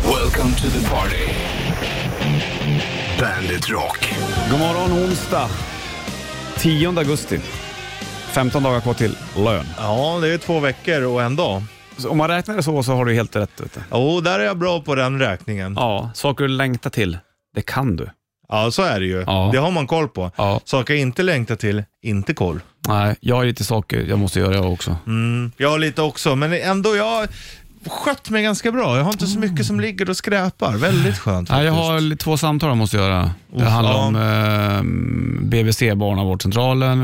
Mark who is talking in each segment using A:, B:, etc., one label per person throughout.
A: Welcome to the party. Bandit Rock.
B: God morgon onsdag 10 augusti. 15 dagar kvar till lön.
C: Ja, det är två veckor och en dag.
B: Så om man räknar det så, så har du helt rätt. Vet du.
C: Jo, där är jag bra på den räkningen. Ja,
B: Ja, saker du längtar till, det kan du.
C: så är det ju.
B: Ja.
C: Det har man koll på.
B: Ja.
C: Saker jag inte längtar till, inte koll.
B: Nej, jag har lite saker jag måste göra jag också.
C: Mm, jag har lite också, men ändå, jag har skött mig ganska bra. Jag har inte så mycket som ligger och skräpar. Väldigt skönt
B: Nej,
C: faktiskt.
B: jag har li- två samtal jag måste göra. Det
C: Oh,
B: handlar
C: ja.
B: om eh, BBC, barnavårdscentralen,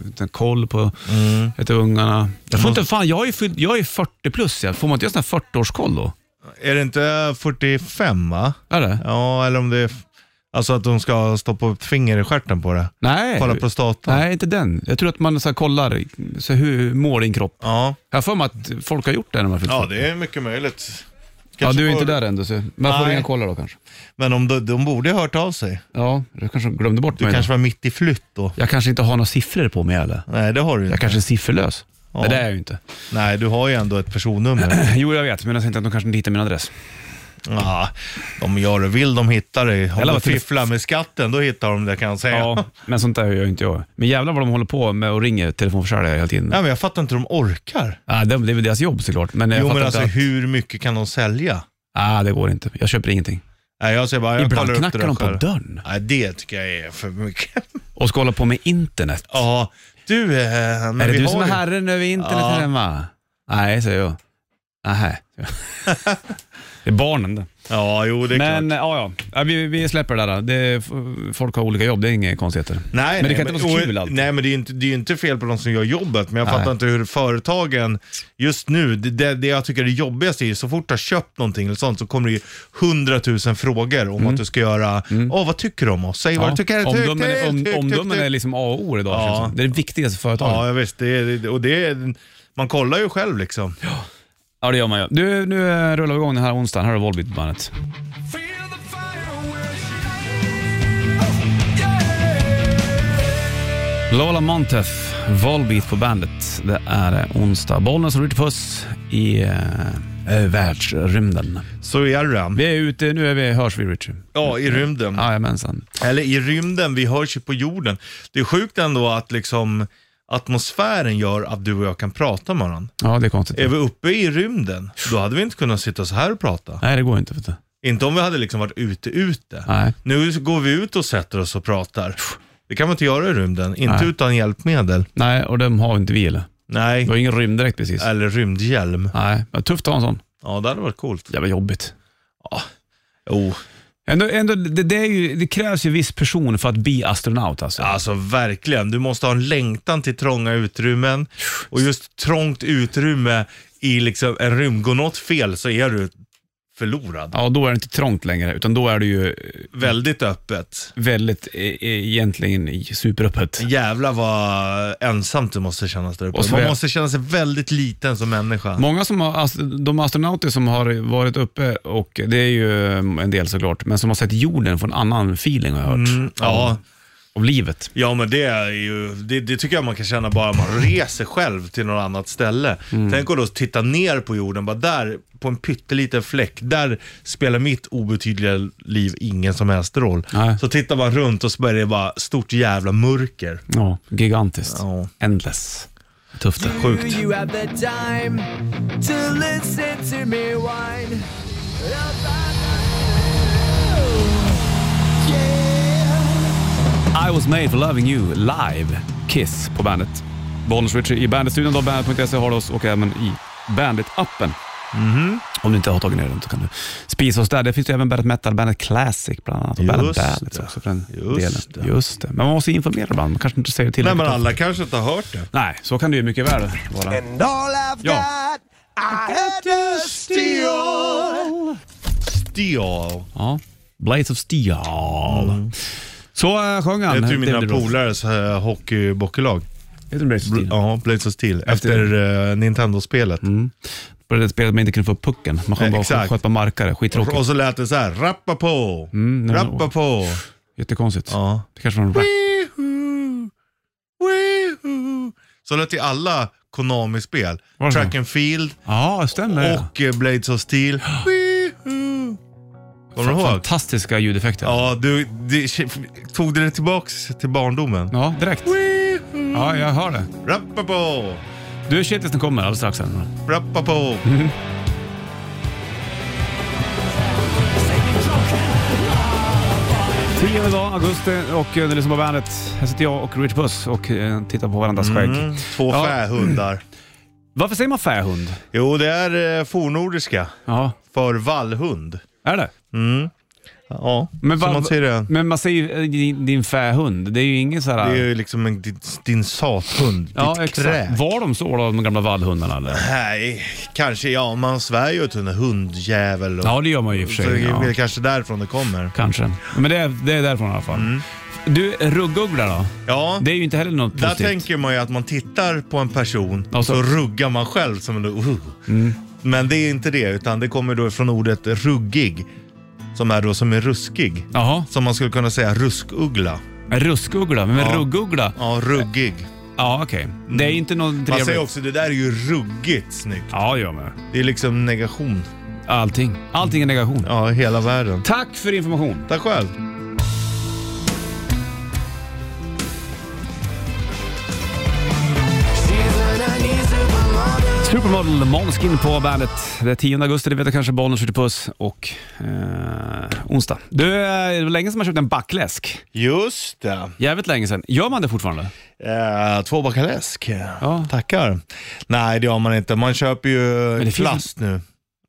B: eh, lite koll på ett ungarna. Mm. Jag, får inte, fan, jag, är fylld, jag är 40 plus, jag. får man inte göra sån här 40-årskoll då?
C: Är det inte 45, va?
B: Är det?
C: Ja, eller om det är... Alltså att de ska stoppa upp ett finger i stjärten på det.
B: Nej.
C: Kolla prostatan.
B: Nej, inte den. Jag tror att man så här, kollar, så här, hur mår din kropp?
C: Ja.
B: Jag har för mig att folk har gjort det när man fyllt
C: ja,
B: 40.
C: det är mycket möjligt.
B: Ja,
C: Kanske
B: du är inte
C: får-
B: där än, så man får
C: Nej.
B: ringa och kolla då kanske.
C: Men om de, de borde ha hört av sig.
B: Ja, du kanske glömde bort
C: Du
B: mig.
C: kanske
B: då.
C: var mitt i flytt då.
B: Jag kanske inte har några siffror på mig eller?
C: Nej, det har du inte.
B: Jag kanske är sifferlös.
C: Ja.
B: Det där är jag ju inte.
C: Nej, du har ju ändå ett personnummer.
B: Jo, jag vet, men jag tänkte att de kanske inte hittar min adress.
C: ja, de gör det. Vill de hitta dig? Om
B: Eller
C: de
B: vad till-
C: fifflar med skatten, då hittar de det kan jag säga.
B: Ja,
C: Ja.
B: men sånt där gör ju inte jag. Men jävlar vad de håller på med och ringer telefonförsäljare hela tiden. Ja.
C: men jag fattar inte hur de orkar.
B: det, det är väl deras jobb såklart, men jag
C: jo,
B: fattar
C: men alltså
B: inte att...
C: hur mycket kan de sälja?
B: Ah, det går inte. Jag köper ingenting.
C: Nej, jag säger bara, jag
B: Ibland
C: kollar upp det
B: knackar
C: där
B: de på
C: själv.
B: dörren
C: Nej, det tycker jag är för mycket.
B: och ska hålla på med internet.
C: ja, du... eh, Men
B: är det
C: vi
B: du
C: har
B: som är
C: ju-
B: herren över internet
C: Ja.
B: hemma? Nej, säger jag. Nähä. det är barnen det.
C: Ja, jo, det är
B: Men
C: klart.
B: ja, ja. ja vi, vi släpper det där. då. Det är, f- folk har olika jobb, det är inga konstigheter. men
C: Nej,
B: det
C: nej,
B: kan inte vara så
C: och-
B: kul alltid.
C: Nej, men det är ju inte, det är ju inte fel på de som gör jobbet, men jag
B: Nej.
C: fattar inte hur företagen just nu, det- det, det jag tycker är det jobbigaste är ju så fort du har köpt någonting eller sånt så kommer det ju hundratusen frågor om att du ska göra, åh vad tycker du om oss? Säg vad du tycker. Tyck,
B: Mm. Omdömen är, om,
C: tyck, tyck,
B: omdömen
C: tyck.
B: är liksom A och O idag.
C: Ja.
B: känns det som. Det är det viktigaste för företagen.
C: Ja, jag visst. Det, är- det, och det, är- man kollar ju själv liksom.
B: Ja, det gör man ju. Du, nu eh, rullar vi igång den här onsdagen. Här har du Volbeat-bandet.
D: Oh,
B: Lola Montef, Volbeat på bandet. Det är eh, onsdag. Bollnäs och Ritchie Puss i eh, eh, världsrymden.
C: Så är det.
B: Vi är ute, nu är vi, hörs vi Ritchie.
C: Ja,
B: Mm.
C: i rymden.
B: Jajamensan.
C: Eller i rymden, vi hörs ju på jorden. Det är sjukt ändå att liksom atmosfären gör att du och jag kan prata med varandra.
B: Ja, det är konstigt.
C: Är vi uppe i rymden, då hade vi inte kunnat sitta så här och prata.
B: Nej, det går inte. Vet du.
C: Inte om vi hade liksom varit ute, ute.
B: Nej.
C: Nu går vi ut och sätter oss och pratar. Det kan man inte göra i rymden, inte
B: Nej.
C: utan hjälpmedel.
B: Nej, och de har inte vi eller? Vi
C: Nej,
B: har ingen rymddräkt precis.
C: eller rymdhjälm.
B: Nej, men tufft att ha en sån.
C: Ja, det hade varit coolt. Oh,
B: Jävla jobbigt.
C: Jo,
B: Ändå, ändå, det, det, är ju, det krävs ju viss person för att bli astronaut alltså.
C: alltså verkligen. Du måste ha en längtan till trånga utrymmen. Och just trångt utrymme i liksom en rymd, går något fel så är du förlorad.
B: Ja, då är det inte trångt längre, utan då är det ju eh,
C: Väldigt öppet.
B: väldigt, eh, eh, egentligen i- superöppet.
C: Jävlar vad ensamt du måste kännas där uppe.
B: Och så
C: Man
B: är-
C: måste känna sig väldigt liten som människa.
B: Många som har, ast- de astronauter som har varit uppe, och det är ju eh, en del såklart, men som har sett jorden får en annan feeling har jag hört.
C: Mm, ja.
B: Av livet.
C: Ja men det är ju, det, det tycker jag man kan känna bara man reser själv till något annat ställe. Tänk att då titta ner på jorden, bara där, på en pytteliten fläck, där spelar mitt obetydliga liv ingen som helst roll.
B: Nej.
C: Så tittar man runt och så börjar det bara stort jävla mörker.
B: Ja, gigantiskt.
C: Ja.
B: Endless. Tufft det.
C: Sjukt.
D: You have the time to listen to me whine.
B: I was made for loving you live. Kiss på bandet. Bonus Richie i Bandit-studion. då, Bandit.se har du oss och även i Bandit-appen.
C: Mhm.
B: Om du inte har tagit ner den så kan du spisa oss där. Det finns ju även Bandit Metal, Bandit Classic bland annat och Bandit
C: Just
B: Ballads
C: det.
B: också för den
C: Just
B: delen.
C: det.
B: Just det. Men man måste ju informera ibland. Man kanske inte säger till.
C: Nej men alla kanske inte har hört det.
B: Nej, så kan det ju mycket väl vara.
D: And all I've
B: Ja.
D: got, I had to steal.
C: Steel.
B: Ja. Blaze of Steel. Så äh, sjöng
C: Mm. Det
B: han.
C: är ju mina
B: David Roth.
C: polares eh, hockeybockeylag.
B: Heter den Blaze of
C: Bl-
B: Steel?
C: Ja, Blades of Steel. Efter eh, Nintendo-spelet.
B: Mm, På det där spelet man inte kunde få upp pucken. Man sjöng
C: Nej,
B: bara
C: exakt.
B: sköt på markare. Skittråkigt.
C: Och så lät det så här, rappa på,
B: Mm, nej, men-
C: rappa på.
B: Jättekonstigt.
C: Ja.
B: Det kanske var en rap.
C: Weehoo, weehoo. Så lät ju alla Konami-spel.
B: Var det så?
C: Track and Field
B: Ja, stämmer.
C: och eh, Blades of Steel. Weehoo. Kommer du ihåg?
B: Fantastiska ljudeffekter.
C: Ja, du, det, tog du det tillbaks till barndomen?
B: Ja, direkt. Ja, jag hör det.
C: Rappapo!
B: Du, shitlisten kommer alldeles strax. Här.
C: Rappapo!
B: Mm. Tionde dag, augusti och eh, du lyssnar på bandet. Här sitter jag och Rich Puss och eh, tittar på varandras
C: Mm.
B: skägg.
C: Två
B: Ja.
C: fähundar.
B: Varför säger man fähund?
C: Jo, det är eh, fornnordiska
B: Ja,
C: för vallhund.
B: är det?
C: Ja,
B: Men
C: som
B: vad-
C: man säger det.
B: Men man säger ju eh, din, din fähund. Det är ju ingen så här...
C: Det är ju liksom en, din, din sathund,
B: ja,
C: ditt
B: exakt.
C: kräk.
B: Var de så då, de gamla vallhundarna eller?
C: Nej, kanske ja, man svär ju åt en hundjävel. Och,
B: Ja, det gör man ju i och för
C: så det
B: sig.
C: är
B: Ja,
C: väl kanske därifrån det kommer.
B: kanske. Men det är, det är därifrån i alla fall.
C: Mm.
B: Du, ruggugla då?
C: Ja,
B: Det är ju inte heller något
C: där
B: positivt.
C: tänker man ju att man tittar på en person
B: Ja,
C: och
B: så- Mm.
C: så ruggar man själv som en... Uh. Men det är inte det, utan det kommer då från ordet ruggig, som är då som är ruskig.
B: Jaha,
C: Som man skulle kunna säga ruskuggla.
B: en ruskugla. Men
C: Ja.
B: ruggugla?
C: Ja, ruggig.
B: Ja, okej. Det är inte något
C: Man säger
B: trevligt.
C: också det där är ju ruggigt snyggt.
B: Ja, det gör man.
C: Det är liksom negation.
B: Allting. Allting är negation.
C: Ja, hela världen.
B: Tack för information.
C: Tack själv.
B: Supermodel Måneskin på bandet. Det är 10 augusti, det vet jag kanske, Bollnäs skjuter puss och eh, onsdag. Du, eh, det var länge sedan man köpte en backläsk.
C: Just det.
B: Jävligt länge sedan. Gör man det fortfarande?
C: Eh, två bakar läsk.
B: Ja.
C: Tackar. Nej, det gör man inte. Man köper ju
B: det finns-
C: plast nu.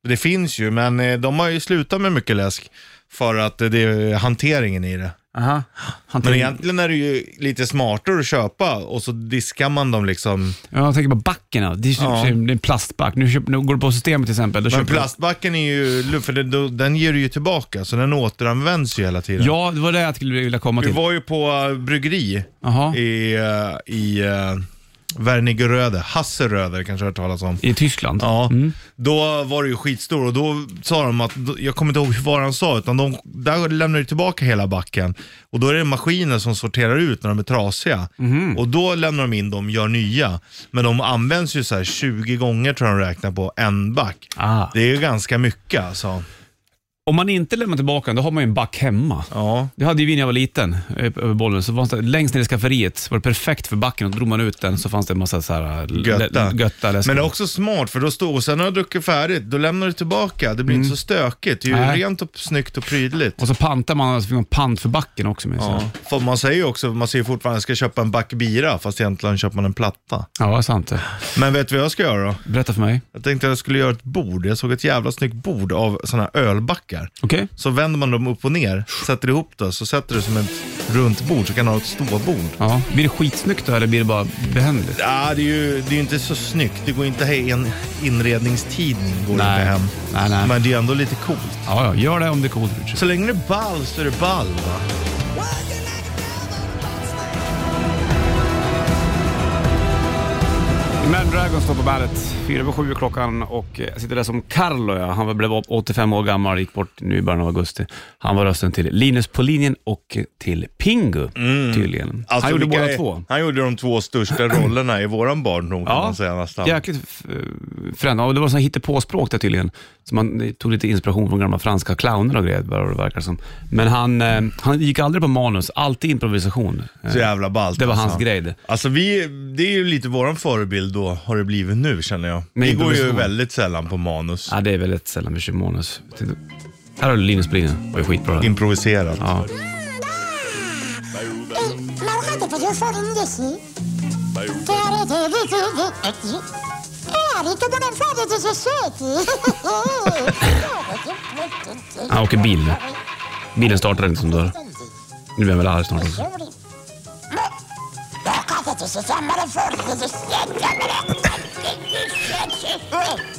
C: Det finns ju, men eh, de har ju slutat med mycket läsk för att eh, det är hanteringen i det.
B: Aha.
C: Men
B: Hantering...
C: egentligen är det ju lite smartare att köpa och så diskar man dem liksom.
B: Ja, jag tänker på backen. ja. Det är,
C: Ja.
B: det är en plastback. Nu, köper, nu går du på systemet till exempel. Då
C: Men
B: köper du-
C: plastbacken är ju, lu- för det, då- den ger du ju tillbaka, så den återanvänds ju hela tiden.
B: Ja, det var det jag skulle vilja komma
C: Vi
B: till.
C: var ju på eh, bryggeri
B: Aha.
C: i, eh, i uh, Wernigeröde, Hasseröde kanske jag har hört talas om.
B: I Tyskland?
C: Ja, då var det ju skitstor och då sa de att, då- jag kommer inte ihåg vad han sa, utan de, där lämnar du tillbaka hela backen. Och då är det maskiner som sorterar ut när de är trasiga. Och då lämnar de in dem, gör nya. Men de används ju så här 20 gånger tror jag de räknar på, en back.
B: Ah.
C: Det är ju ganska mycket alltså.
B: Om man inte lämnar tillbaka den, då har man ju en back hemma.
C: Ja.
B: Det hade ju vi när jag var liten, ö- över bollen. Så fanns det, längst ner i skafferiet var det perfekt för backen. Och då drog man ut den så fanns det en massa så här äh, l-
C: Götta.
B: l- götta läsk.
C: Men det är också smart för då står och sen när du har druckit färdigt, då lämnar du tillbaka. Det blir inte så stökigt. Det är ju
B: Mm. Nej.
C: rent och snyggt och prydligt.
B: Och så pantar man, så fick man pant för backen också. Minns ja.
C: Ja. För man säger ju också, man säger fortfarande ska köpa en back bira, fast egentligen köper man en platta.
B: ja, det är sant det.
C: Men vet du vad jag ska göra då?
B: Berätta för mig.
C: Jag tänkte att jag skulle göra ett bord. Jag såg ett jävla snyggt bord av sådana här ölbackar.
B: Okej?
C: Så vänder man dem upp och ner, sätter ihop det, så sätter du som ett runt bord, så kan du ha ett ståbord.
B: Ja. Blir det skitsnyggt då eller blir det bara behändigt?
C: Ja, det är ju det är ju inte så snyggt. Det går inte he- en inredningstidning går
B: Nej.
C: inte hem.
B: Nej, nej.
C: Men det är ändå lite coolt.
B: Ja, ja. Gör det om det är coolt. Richard.
C: Så länge det är ball så är det ball va?
B: Men Dragon står på bandet. Fyra över sju är klockan och eh, jag sitter där som Carlo. Ja. Han var- blev 85 år gammal, gick bort nu i början av augusti. Han var rösten till Linus på linjen och eh, till Pingu tydligen. han gjorde
C: Mm. Alltså, vilka
B: båda
C: är-
B: två.
C: Han gjorde de två största rollerna i våran barndom kan
B: Ja.
C: man säga nästan.
B: Jäkligt f- eh, förändrat. Och det var sån här hittepåspråk där tydligen. Så man eh, tog lite inspiration från gamla franska clowner och grejer, vad det verkar som. Men han, eh, han gick aldrig på manus, alltid improvisation. Eh,
C: Så jävla ballt.
B: Det var hans
C: alltså.
B: grej det.
C: Alltså vi, det är ju lite våran förebild då, har det blivit nu känner jag.
B: Men
C: vi går ju
B: improvisation.
C: väldigt sällan på manus.
B: Ja, det är väldigt sällan vi kör manus. Jag tänkte- Här har du Linus på linjen. Det var ju skitbra. det.
C: Improviserat.
B: Ja.
A: مرحبا باليوفور النسي تعرف تعرف من فضة الشاتي
B: Han åker bil nu. Bilen startar inte som dör. Nu blir han väl arg snart också.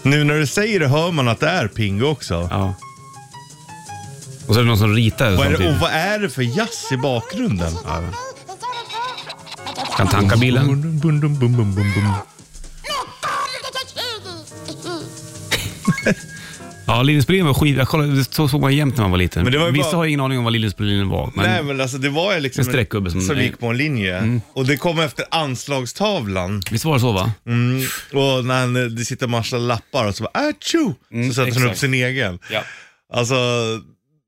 C: Nu när du säger det hör man att det är Pingo också.
B: Ja. Och så är det någon som ritar
C: Vad är det, Oh, och
B: samtidigt.
C: vad är det för jazz i bakgrunden?
B: Kan tanka bilen.
C: Bum, bum, bum, bum, bum, bum, bum.
B: Ja, Linus Brolin var skit... Jag kollade, det så såg man jämt när man var liten.
C: Men det var ju
B: Vissa
C: bara-
B: har ingen aning om vad Linus Brolin var. Men...
C: Nej men alltså det var ju liksom
B: En streckgubbe som- Mm.
C: gick på en linje. Och det kom efter anslagstavlan.
B: Visst var det så va?
C: Mm. Och när han, det Mm, sitter en massa lappar och så bara atjo! Så sätter han upp
B: exakt.
C: sin egen.
B: Ja.
C: Alltså,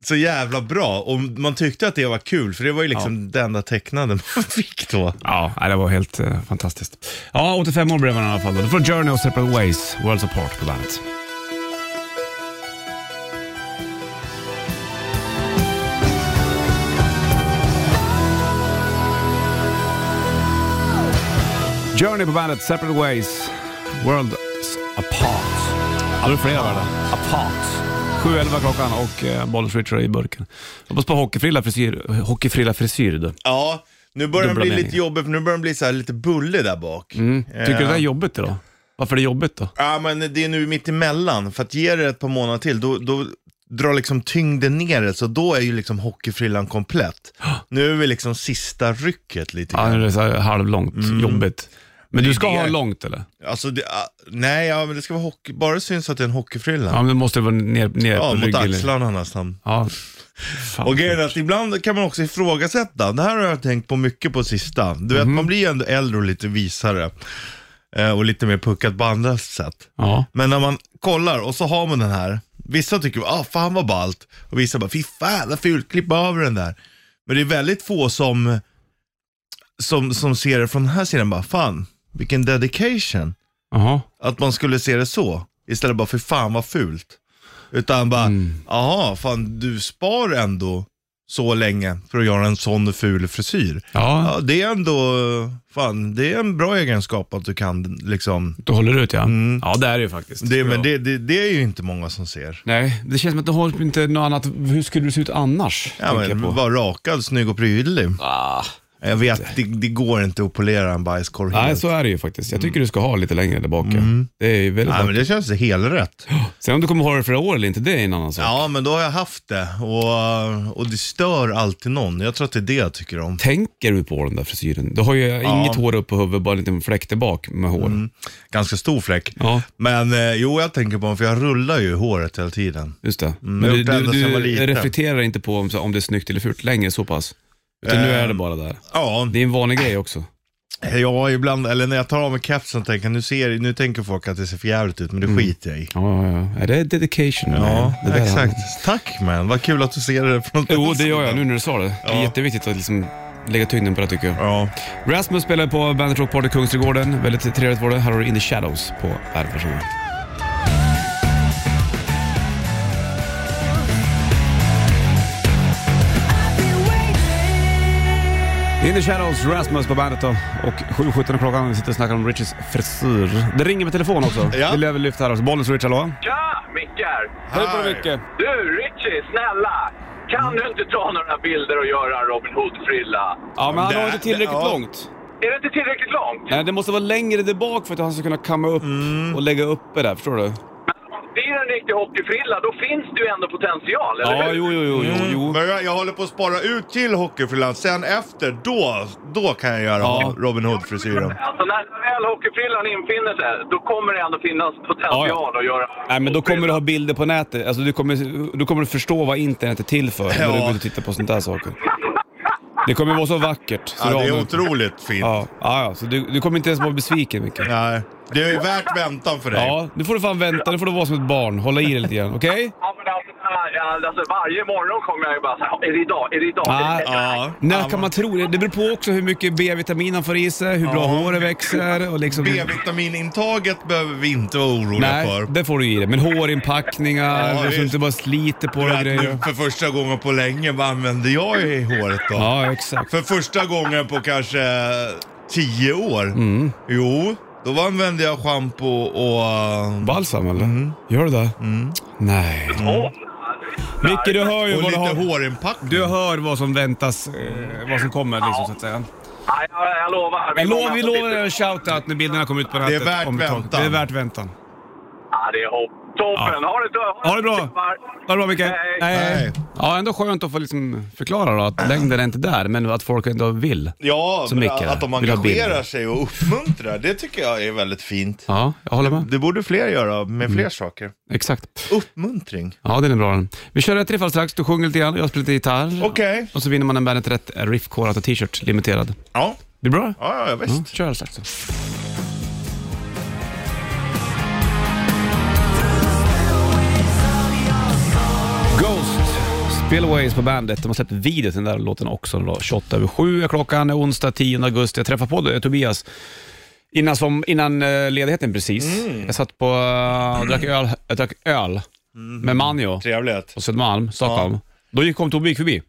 C: så jävla bra. Och man tyckte att det var kul, för det var ju liksom det enda tecknade man fick då.
B: Ja, nej, det var helt eh, fantastiskt. Ja, 85 år blev han i alla fall. Då. Du får Journey och Separate Ways, Worlds Apart på bandet. Journey på bandet, Separate Ways, Worlds Apart. Har du fler var det? Apart. 7.11 klockan och eh, Bollers Richard i burken. Hoppas på hockeyfrilla frisyr. Hockeyfrilla frisyr du.
C: Ja, nu börjar den
B: Dubbla
C: bli lite
B: meningar.
C: jobbig, för nu börjar den bli så här lite bullig där bak. Eh,
B: Tycker du det är jobbigt då? Varför är det jobbigt då?
C: Ja, men det är nu mitt emellan. För att ge det ett par månader till, då, då drar liksom tyngden ner det, så då är ju liksom hockeyfrillan komplett. Nu är vi liksom sista rycket lite
B: Ja,
C: grann.
B: det är så här halvlångt, jobbigt. Men
C: Mm. det
B: du
C: är
B: ska
C: det.
B: ha långt eller?
C: Alltså, det, ah, nej, ja, men det ska vara hockey, bara syns att det är en hockeyfrilla.
B: Ja,
C: Ja,
B: men du måste vara ner, ner på
C: mot
B: rygg eller-
C: axlarna nästan.
B: Ja. Fan.
C: Och grejen är att ibland kan man också ifrågasätta. Det här har jag tänkt på mycket på sista. Du
B: Mhm.
C: vet, man blir ju ändå äldre och lite visare. Eh, Och lite mer puckat på andra sätt.
B: Ja.
C: Men när man kollar och så har man den här. Vissa tycker ah, fan vad ballt. Och vissa bara fy fan vad fult, klipp över den där. Men det är väldigt få som, som, som ser det från den här sidan bara fan vilken dedication.
B: Jaha.
C: Att man skulle se det så. Istället bara för fan vad fult. Utan bara
B: Mm.
C: jaha fan du spar ändå så länge för att göra en sån ful frisyr.
B: Ja,
C: Ja, det är ändå, fan det är en bra egenskap att du kan liksom
B: du håller ut ja. Ja, det är det ju faktiskt.
C: Mm. det, men
B: Ja.
C: det, det, det är ju inte många som ser.
B: Nej, det känns som att du har inte något annat. Hur skulle du se ut annars?
C: Ja,
B: tänker
C: men
B: jag på.
C: var rakad, snygg och prydlig.
B: Ah.
C: Jag vet, det, det går inte att polera en bajskorv
B: Nej,
C: helt.
B: så är det ju faktiskt. Jag tycker du ska ha lite längre där bak. ja. Det är ju väldigt
C: Mm. Nej,
B: bra.
C: men det känns helt rätt.
B: Sen om du kommer ha det flera år eller inte, det är en annan sak.
C: Ja, men då har jag haft det och, och det stör alltid någon. Jag tror att det är det jag tycker om.
B: Tänker du på den där frisyren? Du har ju inget hår upp på huvudet, bara en liten fläkt där bak med hår.
C: Mm. Ganska stor fläck.
B: Ja.
C: Men eh, jo, jag tänker på den för jag rullar ju håret hela tiden.
B: Just det.
C: Mm. jag
B: Men du,
C: har gjort det
B: du,
C: ända sedan jag var
B: du
C: liten.
B: reflekterar inte på om, så- om det är snyggt eller fult längre så pass? Utan nu
C: Eh.
B: är det bara där.
C: Ja,
B: Det är en vanlig grej också.
C: ja, ibland, eller när jag tar av mig kepsen tänker jag, nu, ser, nu tänker folk att det ser för jävligt ut, men det skiter jag i.
B: Ja, ja, ja. Det är dedication.
C: Ja,
B: Mm. det där-
C: exakt. Tack man, vad kul att du ser det från
B: Jo, det gör jag nu när du sa det. Det är
C: Ja.
B: jätteviktigt att liksom lägga tyngden på det tycker jag.
C: Ja.
B: Rasmus spelar på Bandet Rock Party Kungsträdgården. Väldigt trevligt var det. Här har du In the Shadows på Bandet. Varsågod. In the Shadows, Rasmus på bandet då. Och 7.17 klockan, vi sitter och snackar om Riches frisyr. Det ringer på telefon också.
C: Ja.
B: Det lär vi lyfta här också. Bollens Rich, hallå?
E: Tja, Micke här.
B: Hej på dig Micke!
E: Du, Richie, snälla. Kan du inte ta några bilder och göra Robin Hood-frilla?
B: Ja, men han
C: Där-
B: har inte tillräckligt
C: ja.
B: långt.
E: Är det inte tillräckligt långt?
B: Nej, det måste vara längre där bak för att han ska kunna kamma upp
C: Mm.
B: och lägga upp det där, förstår du?
E: Om det är en riktig hockeyfrilla, då finns det ju ändå potential, eller
B: Ja,
E: hur?
B: jo, jo, jo, jo. jo.
C: Men jag, jag håller på att spara ut till hockeyfrillan. Sen efter, då, då kan jag göra
B: Ja.
C: Robin Hood-frisyren.
E: Alltså, när väl hockeyfrillan infinner sig, då kommer det ändå finnas
B: Ja,
E: potential
B: ja.
E: att göra...
B: Nej, men då kommer du ha bilder på nätet. Alltså, du, kommer, du kommer förstå vad internet är till för när du
C: Ja.
B: går och tittar på sånt där saker. Det kommer vara så vackert. Så
C: Ja, det
B: du har-
C: är otroligt fint.
B: Ja, ja, ja. Så du, du kommer inte ens vara besviken, Micke.
C: Nej, det är ju värt väntan för dig.
B: Ja, nu får du fan vänta. Nu får du vara som ett barn. Hålla i dig lite grann, okej?
E: Ja, men alltså, ja, alltså, varje morgon kommer jag ju bara så här, är det idag? Är det idag?
B: Ah,
E: är det...
C: Ja.
B: När kan man tro det? Det beror på också hur mycket B-vitamin han får i sig, hur bra håret växer och liksom...
C: B-vitaminintaget behöver vi inte vara oroliga
B: Nej,
C: för.
B: det får du i dig. Men hårinpackningar,
C: Ja,
B: så att du
C: visst.
B: inte bara sliter på
C: Du
B: dig
C: vet,
B: grejer.
C: nu för första gången på länge, vad använder jag i håret då?
B: Ja, exakt.
C: För första gången på kanske tio år.
B: Mm.
C: Jo, då använde jag schampo och...
B: Balsam eller?
C: Mm.
B: Gör du det? Nej.
E: Åh,
B: Micke, du hör ju
C: Och
B: vad du
C: lite
B: har.
C: hårinpackning.
B: Du hör vad som väntas, eh, vad som kommer liksom så att säga.
E: nej, jag, jag lovar.
B: Jag lov,
E: många
B: vi
E: som
B: lovar
E: sitter-
B: en shoutout när bilderna kommer ut på nätet.
C: värt
B: om ett tag.
C: väntan.
B: Det är värt väntan.
E: Ja, det är hopp. Toppen!
B: Ja.
E: Ha, det, bra.
B: Ha det bra! Ha det bra Micke!
E: Hej.
C: Hej.
B: Ja, ändå skönt att få liksom förklara då att längden är inte där, men att folk ändå vill.
C: Ja,
B: Så
C: men
B: mycket
C: att de
B: vill ha bilder.
C: engagerar sig och uppmuntrar, det tycker jag är väldigt fint.
B: Ja, Mm. jag håller med.
C: Det borde fler göra med fler saker.
B: Exakt.
C: Uppmuntring.
B: Ja, den är bra den. Vi kör ett riff alldeles strax. Du sjunger lite grann, jag spelar lite gitarr.
C: Okej.
B: Och så vinner man en Bandet Rätt riff och t-shirt, limiterad.
C: Ja.
B: Blir det bra?
C: ja, ja visst.
B: Ja, kör alldeles strax. Ghost Spillways på bandet. De har släppt video till den där låten också. Då. 28 över 7 är klockan, onsdag 10 augusti. Jag träffade på det, Tobias innan, som, innan eh, ledigheten precis. Jag satt på eh, och drack öl, jag drack öl med Manjo
C: Trevligt.
B: på Södermalm, Stockholm. Då gick, kom Tobbe gick förbi.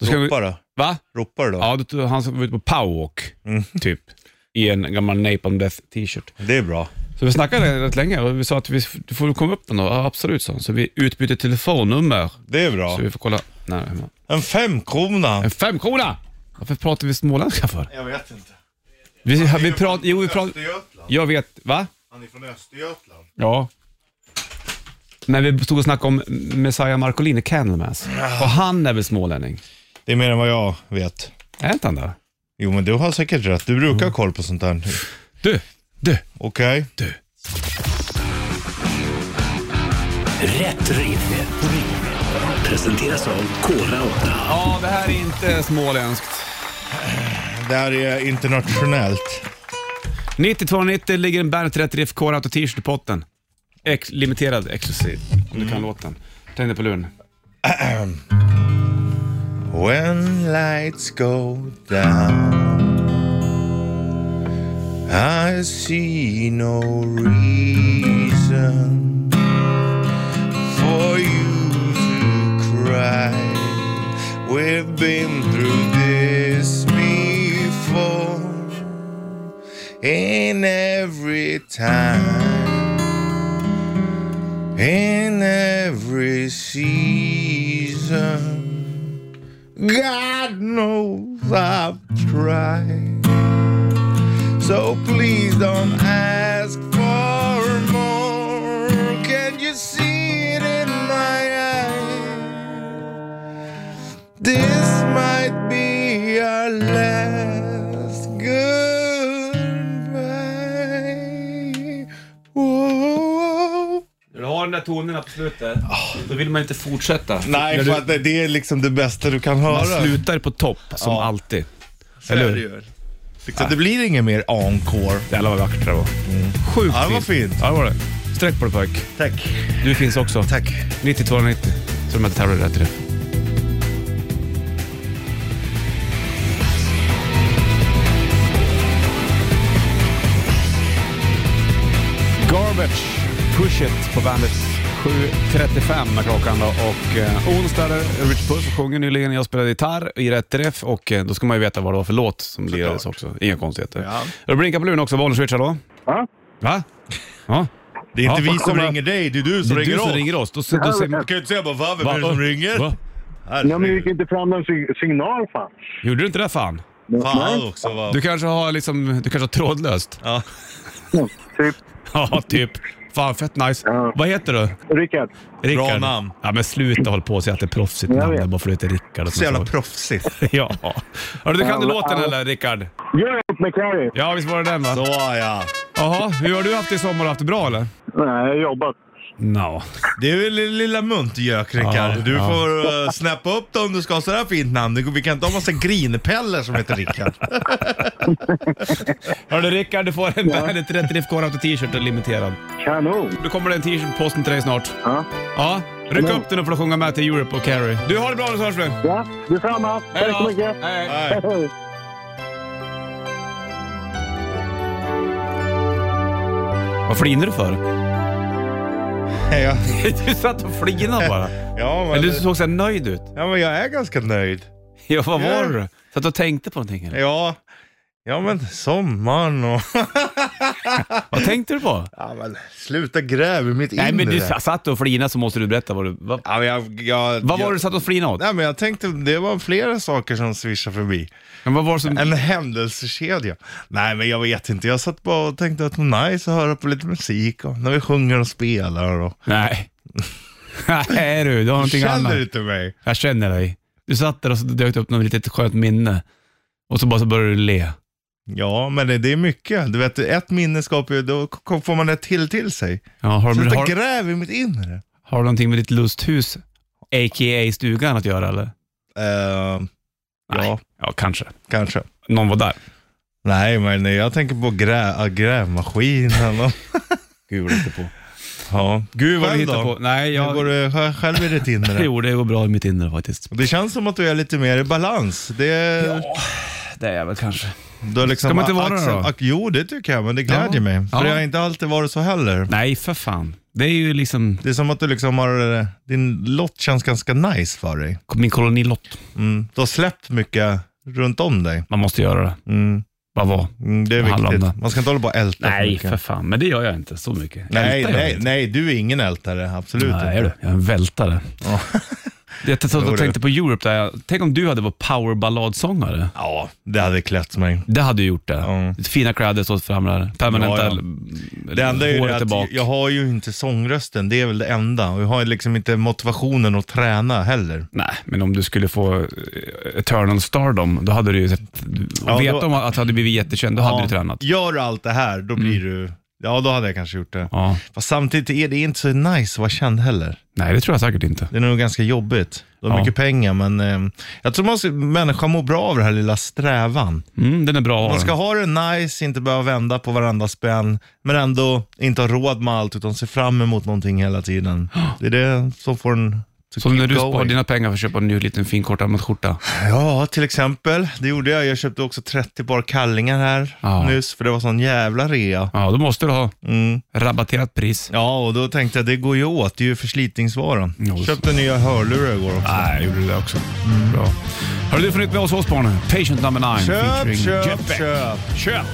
B: Då ska vi-
C: Ropar då?
B: Va?
C: Ropar du då?
B: Ja, då- han var ute på powerwalk, typ. I en gammal Napalm Death t-shirt.
C: Det är bra.
B: Så vi snackade rätt länge och vi sa att vi f- du får komma upp den då. Ja, absolut, sa han. Så vi utbytte telefonnummer.
C: Det är bra.
B: Så vi får kolla. Nej, hur man-
C: En femkrona.
B: en femkrona! Varför pratar vi småländska för?
C: Jag vet inte.
B: Vi, vi pratar... Jo, vi pratar...
C: Östergötland.
B: Jag vet. Va?
C: Han är från Östergötland.
B: Ja. Men vi stod och snackade om Messiah Marcolini, Candlemass. Och han är väl smålänning?
C: Det är mer än vad jag vet.
B: Är inte han det?
C: Jo men du har säkert rätt. Du brukar ha koll på sånt här.
B: Du! Du!
C: Okej?
B: Du!
F: Rätt riff. Presenteras av Kora 8.
B: Ja, det här är inte småländskt.
C: Det här är internationellt.
B: 9290 ligger en Bandet 30 Riff Core Auto T-shirt i potten. Ex limiterad exklusiv, om
C: Mm.
B: du kan låten. Tänk dig på luren.
C: When lights go down I see no reason for you to cry We've been through this before In every time In every season God knows I've tried. So please don't ask for more. Can you see it in my eyes? This might be our last goodbye. Whoa.
B: När du har den där tonen på slutet, då vill man inte fortsätta.
C: Nej,
B: När du,
C: för att det- det är liksom det bästa du kan
B: man
C: höra.
B: slutar på topp, som
C: Ja.
B: alltid. Eller hur?
C: hur? Liksom, det blir ingen mer encore.
B: Jävlar vad vackert det var. Sjukt
C: Mm. Ja, det var fint.
B: Ja, det var det. Sträck på dig pojk.
C: Tack.
B: Du finns också.
C: Tack.
B: 9290. Så de hade tävlat rätt i det. Garbage, Push It på bandet. 7.35 är klockan då och eh, onsdag där Rich Puss sjunger nyligen. Jag spelade gitarr i rätt träff och eh, då ska man ju veta vad det var för låt som lirades också. Inga konstigheter.
C: Ja.
B: Du blinkar på luren också, Bonnier Switch, hallå?
G: Ja.
B: Va? Ja.
C: Det är
B: Ja,
C: inte vi
B: vad
C: som
B: kommer-
C: ringer dig, det är du
B: Det
C: som
B: är du
C: ringer
B: som
C: oss.
B: ringer oss. Då, då, då säger man...
C: Du kan ju inte säga bara va, vem
B: Va?
C: är det som ringer?
B: Va?
G: Nej, men jag gick
C: Herregud.
G: inte fram någon sig- signal fan.
B: Gjorde du inte det fan?
C: Fan också va.
B: Du kanske har liksom, du kanske har trådlöst?
C: Ja.
G: Typ,
B: Ja, typ. Fan, fett nice.
G: Ja.
B: Vad heter du?
G: Rickard.
B: Rickard?
C: Bra namn.
B: Ja, men sluta håll på och säga att det är proffsigt
G: Jag
B: namn
G: vet.
B: bara för att du heter Rickard. och
C: Så jävla
B: sånt.
C: proffsigt.
B: Ja. Hörru, du kan du
G: Ja,
B: låten
G: ja.
B: eller Rickard?
G: Europe med Carrie.
B: Ja, visst var det den va?
C: Så ja.
B: Jaha, hur har du haft det i sommar? Har du haft det bra eller?
G: Nej, jag har jobbat.
B: No.
C: Det är väl lilla muntgök Rickard.
B: Ja,
C: Du
B: ja.
C: får eh, snappa upp det om du ska ha sådär fint namn. Det går- Vi kan inte ha massa grinpeller som heter Rickard.
B: Hörru Rickard, du får en Bandet 30 Riff Core Auto T-shirt och limiterad.
G: Kanon.
B: Då kommer det en t-shirt på posten till dig snart.
G: Ja,
B: Ja, ryck upp den och får sjunga med till Europe och Carrie. Du, har det bra nu så hörs vi.
G: ja detsamma.
B: Hej
G: Tack så
B: då.
G: mycket.
B: Hej.
C: Nej.
G: Hej.
B: Vad flinar du för?
C: Ja,
B: Du satt och flinade bara.
C: ja,
B: Men
C: men,
B: du såg så här nöjd ut.
C: ja, men jag är ganska nöjd.
B: Ja, vad
C: Ja.
B: var det Satt och tänkte på någonting eller?
C: Ja, ja men sommaren och...
B: Vad tänkte du på?
C: Ja, men, sluta gräva i mitt inre.
B: Nej, men du sa- satt och flinade så måste du berätta vad du... Vad,
C: Ja, men jag, jag,
B: vad var
C: jag,
B: det du satt och flinade åt?
C: Nej, men jag tänkte, det var flera saker som svischade förbi.
B: Men vad var det som...
C: En händelsekedja. Nej, men jag vet inte. Jag satt bara och tänkte att det var nice att höra på lite musik och när vi sjunger och spelar. Och...
B: Nej. Nej du, du har någonting annat.
C: Känner du inte mig?
B: Jag känner dig. Du satt där och så dök det upp något litet skönt minne. Och så bara så började du le.
C: Ja, men det, det är mycket. Du vet, ett minne skapar ju, då k- får man det till till sig.
B: Ja, har, du,
C: Sluta
B: har,
C: gräv i mitt inre.
B: har du någonting med ditt lusthus, a.k.a. stugan, att göra eller?
C: Eh, ja,
B: Nej. Ja, kanske.
C: kanske.
B: Någon var där.
C: Nej, men jag tänker på grä, äh, grävmaskinen. Och...
B: Gud, vad du inte på.
C: Ja.
B: Gud vad du
C: Själv
B: hittar
C: då?
B: på. Nej,
C: Hur
B: jag...
C: går det sj- själv i ditt inre?
B: Jo, det går bra i mitt inre faktiskt.
C: Det känns som att du är lite mer i balans. Det,
B: Det är jag väl kanske.
C: du har liksom
B: Ska man inte vara
C: axel-
B: det då?
C: ac- Jo, det tycker jag, men det glädjer
B: Ja.
C: mig. För
B: Ja.
C: jag har inte alltid varit så heller.
B: Nej, för fan. Det är ju liksom
C: Det är som att du liksom har, eh, din lott känns ganska nice för dig.
B: min kolonilott.
C: Mm. Du har släppt mycket runt om dig.
B: Man måste göra det.
C: Mm.
B: Bara vara.
C: Mm, det är
B: Det handlar om
C: viktigt.
B: det.
C: Man ska inte hålla på och älta för
B: Nej,
C: mycket.
B: för fan. Men det gör jag inte så mycket.
C: Nej,
B: Ältar gör jag
C: nej,
B: inte.
C: nej, du är ingen ältare. Absolut
B: Nej, är
C: inte.
B: du. Jag är en vältare.
C: Ja.
B: Jag t-
C: Jo,
B: jag
C: du.
B: tänkte på Europe, där jag, tänk om du hade varit powerballadsångare.
C: Ja, det hade klätt mig.
B: Det hade ju gjort det.
C: Ja.
B: Fina kläder står fram där. Permanenta
C: Ja, ja.
B: l-
C: Det enda är ju
B: håret
C: det
B: är
C: att
B: bak.
C: jag har ju inte sångrösten, det är väl det enda. Och jag har ju liksom inte motivationen att träna heller.
B: Nej, men om du skulle få eh, Eternal Stardom, då hade du ju sett...
C: Ja,
B: vet
C: då-
B: om att du hade blivit jättekänd, då hade du
C: Ja,
B: tränat. Mm.
C: Gör du allt det här, då blir du... Ja, då hade jag kanske gjort det.
B: Ja.
C: Fast samtidigt är det inte så nice att vara känd heller.
B: Nej, det tror jag säkert inte.
C: Det är nog ganska jobbigt. Du har
B: Ja.
C: mycket pengar, men eh, jag tror man ska, människan mår bra av den här lilla strävan.
B: Mm, den är bra att ha
C: Man ska
B: den.
C: ha det nice, inte behöva vända på varenda spänn, men ändå inte ha råd med allt utan se fram emot någonting hela tiden. Det är det som får en to
B: Så
C: keep
B: när du sparar
C: going.
B: dina pengar för att köpa en ny liten fin kortärmad-skjorta.
C: Ja, till exempel. Det gjorde jag. Jag köpte också 30 par kallingar här
B: Ja.
C: nyss, för det var sån jävla rea.
B: Ja, då måste du ha
C: Mm.
B: rabatterat pris.
C: Ja, och då tänkte jag, det går ju åt. Det är ju förslitningsvara.
B: Ja, just
C: Köpte nya hörlurar igår också.
B: Nej, jag gjorde det också. Mm. Bra. Har du förnytt med oss hos barnen? Patient number nine
C: Köp,
B: featuring
C: köp,
B: Jeff Beck.
C: köp.
B: Köp!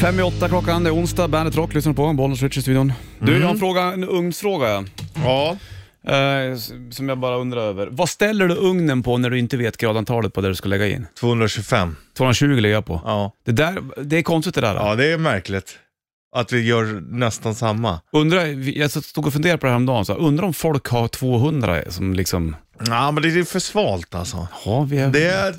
B: Fem i åtta klockan, det är onsdag, Bandet Rock lyssnar på, Bollnäs Switch i studion. Du,
C: Mm.
B: jag har en fråga, en ugnsfråga ja.
C: Ja.
B: Eh, s- som jag bara undrar över. Vad ställer du ugnen på när du inte vet gradantalet på det du ska lägga in?
C: 225.
B: 220 lägger jag på.
C: Ja.
B: Det, där, det är konstigt det där.
C: ja, det är märkligt att vi gör nästan samma.
B: Undrar, vi- jag stod och funderade på det här om dagen, så här, undrar om folk har 200 som liksom...
C: Ja, men det är för svalt alltså.
B: Ja, vi är...
C: Det är,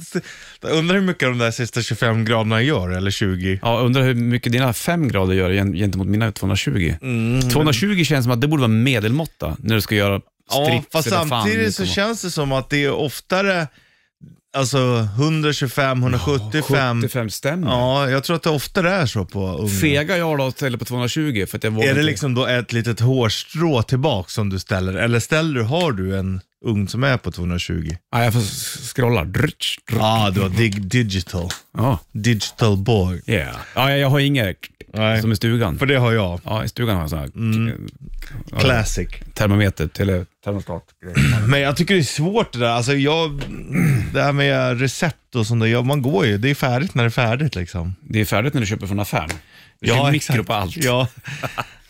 C: jag undrar hur mycket de där sista 25 graderna gör, eller 20.
B: Ja, undrar hur mycket dina 5 grader gör gen- gentemot mina 220.
C: Mm.
B: 220 känns som att det borde vara medelmåtta när du ska göra
C: Ja,
B: strips
C: fast
B: eller fan
C: samtidigt
B: liksom.
C: så känns det som att det är oftare alltså 125, 175.
B: 75 stämmer.
C: Ja, jag tror att det oftare är så på unga.
B: Fega jag då ställer på 220 för att jag vågar
C: Är det
B: inte-
C: liksom då ett litet hårstrå tillbaka som du ställer? Eller ställer du, har du en ugn som är på 220?
B: Ja, jag får s- scrolla. Drutsch, drutsch.
C: Ja, ah, du har dig, digital.
B: Ja,
C: Digital boy.
B: yeah. ja, jag har inget
C: Nej.
B: som i stugan.
C: För Mm. det har jag.
B: Ja, i stugan har jag sån här ja,
C: Classic.
B: termometer, eller termostat.
C: Men jag tycker det är svårt det där. Alltså jag, det här med recept och sånt där. Ja, man går ju. Det är färdigt när det är färdigt liksom.
B: Det är färdigt när du köper från affären. Du
C: Ja,
B: ja, mikro
C: exakt.
B: på allt.
C: Ja.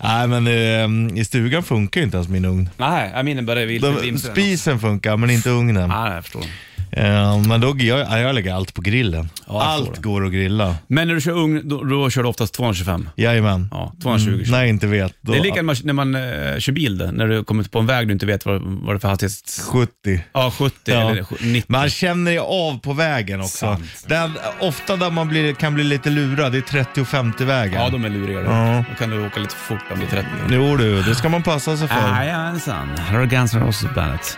C: Nej, men eh, i stugan funkar ju inte ens min ugn.
B: Nej, jag menar bara det vill
C: De- Spisen funkar, men inte ugnen.
B: Nej, jag förstår.
C: Eh, men då, jag, jag lägger allt på grillen.
B: jag förstår
C: allt
B: det.
C: går att grilla.
B: Men när du kör ugn, då, då kör du oftast 225?
C: Jajamän.
B: Ja, 220
C: Mm, nej, inte vet. Då,
B: Det är lika när man, när man eh, kör bil, där, när du kommer på en väg du inte vet vad, vad det är för hastighet.
C: 70.
B: Ja, 70
C: Ja.
B: eller sj- 90.
C: Man känner ju av på vägen också.
B: Sant.
C: Den, ofta där man blir, kan bli lite lurad, det är 30 och 50 vägen.
B: Ja, de är luriga.
C: Ja.
B: Då kan du åka lite fort om det är 30.
C: Jo du, det ska man passa sig för.
B: Jajamensan. Här har du Guns N' Roses på bandet.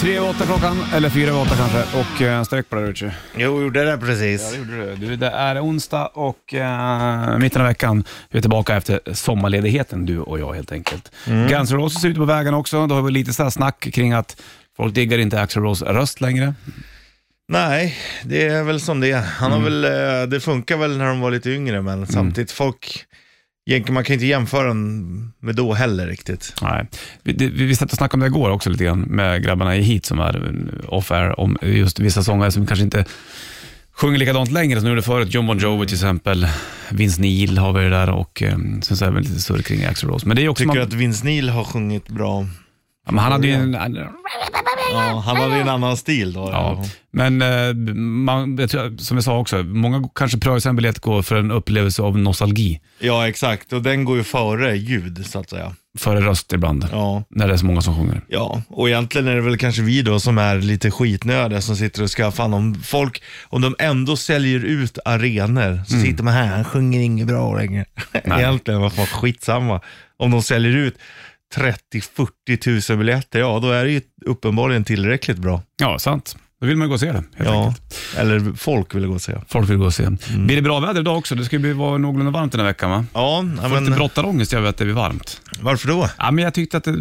B: Tre över åtta klockan, eller fyra över åtta kanske. Och eh, sträck på det Richie.
C: Jo, gjorde det precis.
B: Du, det är onsdag och eh, mitten av veckan. Vi är tillbaka efter sommarledigheten, du och jag helt enkelt.
C: Mm.
B: Guns N' Roses är ute på vägen också. Då har vi lite så här snack kring att folk diggar inte Axl Rose röst längre.
C: Nej, det är väl som det är. Han har väl, eh, det funkar väl när de var lite yngre, men samtidigt folk, egentligen man kan inte jämföra den med då heller riktigt.
B: Nej. Vi, det, vi vi satt och snackade om det igår också lite grann med grabbarna i Heat som är eh, off-air om just vissa sångare som kanske inte sjunger likadant längre som de gjorde förut. John Bon Jovi till exempel, Vince Neil har vi det där och eh, sen så är det väl lite surr kring Axl Rose. Men det är också...
C: Tycker
B: Man,
C: att Vince Neil har sjungit bra?
B: ja, men han hade ju en,
C: Ja, han hade en annan stil då.
B: Ja, men eh, man, jag tror, som jag sa också, många kanske prövar sig en biljett går för en upplevelse av nostalgi
C: ja, exakt. Och den går ju före ljud, så att säga.
B: före röst ibland,
C: Ja.
B: när det är så många som sjunger.
C: Ja, och egentligen är det väl kanske vi då som är lite skitnödiga som sitter och ska, fan om folk, om de ändå säljer ut arenor
B: Mm.
C: så sitter man här, han sjunger inget bra längre. egentligen, vad fan skitsamma. Om de säljer ut 30-40 tusen biljetter, ja då är det ju uppenbarligen tillräckligt bra.
B: Ja, sant. Då vill man ju gå och se det helt
C: Ja, Mm.
B: enkelt.
C: eller folk vill jag gå och se.
B: Folk vill gå och se. Blir det bra väder idag också? Det ska ju bli- vara någorlunda varmt den här veckan va?
C: Ja, ja,
B: Får lite
C: men
B: brottarångest över att det blir varmt.
C: varför då?
B: Ja, men jag tyckte att det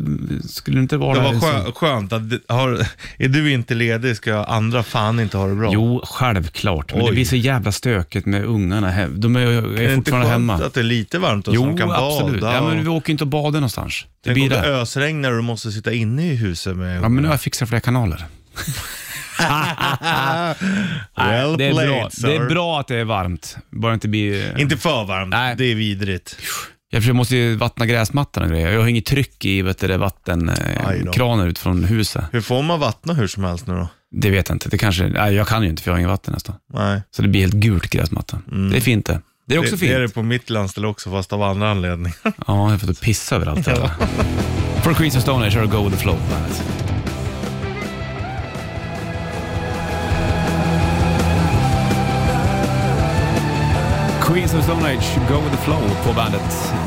B: skulle inte vara...
C: Det var
B: så-
C: skö- skönt att, det- har, är du inte ledig ska andra fan inte ha det bra.
B: Jo, självklart. Men det
C: Oj.
B: blir så jävla stökigt med ungarna. he- De är,
C: är
B: är
C: det inte
B: fortfarande
C: skönt
B: hemma.
C: att det är lite varmt och så de
B: Jo,
C: kan
B: absolut.
C: bada?
B: Ja, men vi
C: och...
B: åker inte och badar någonstans. Det
C: Tänk
B: blir
C: om det
B: det.
C: ösregnar och du måste sitta inne i huset med
B: Ja, men nu har jag fixat fler kanaler.
C: Well
B: det, är
C: played,
B: bra.
C: sir.
B: det är bra att det är varmt. Bara inte bli...
C: Inte för varmt,
B: Nej.
C: det är vidrigt.
B: Jag försöker- måste ju vattna gräsmattan och grejer. Jag har inget tryck i vet du, det
C: Aj då.
B: vattenkranen ut från huset.
C: Hur får man vattna hur som helst nu då?
B: Det vet jag inte. Det kanske, nej, jag kan ju inte för jag har inget vatten nästan.
C: Nej.
B: Så det blir helt gult gräsmattan. Det är fint det. Det är också
C: Mm. det,
B: fint.
C: det är det på mitt landställe också fast av andra anledningar.
B: Ja, jag får typ pissa överallt. Ja. For Queens of Stone Age, Go with the Flow på bandet. Queens of Stone Age, Go with the Flow på bandet.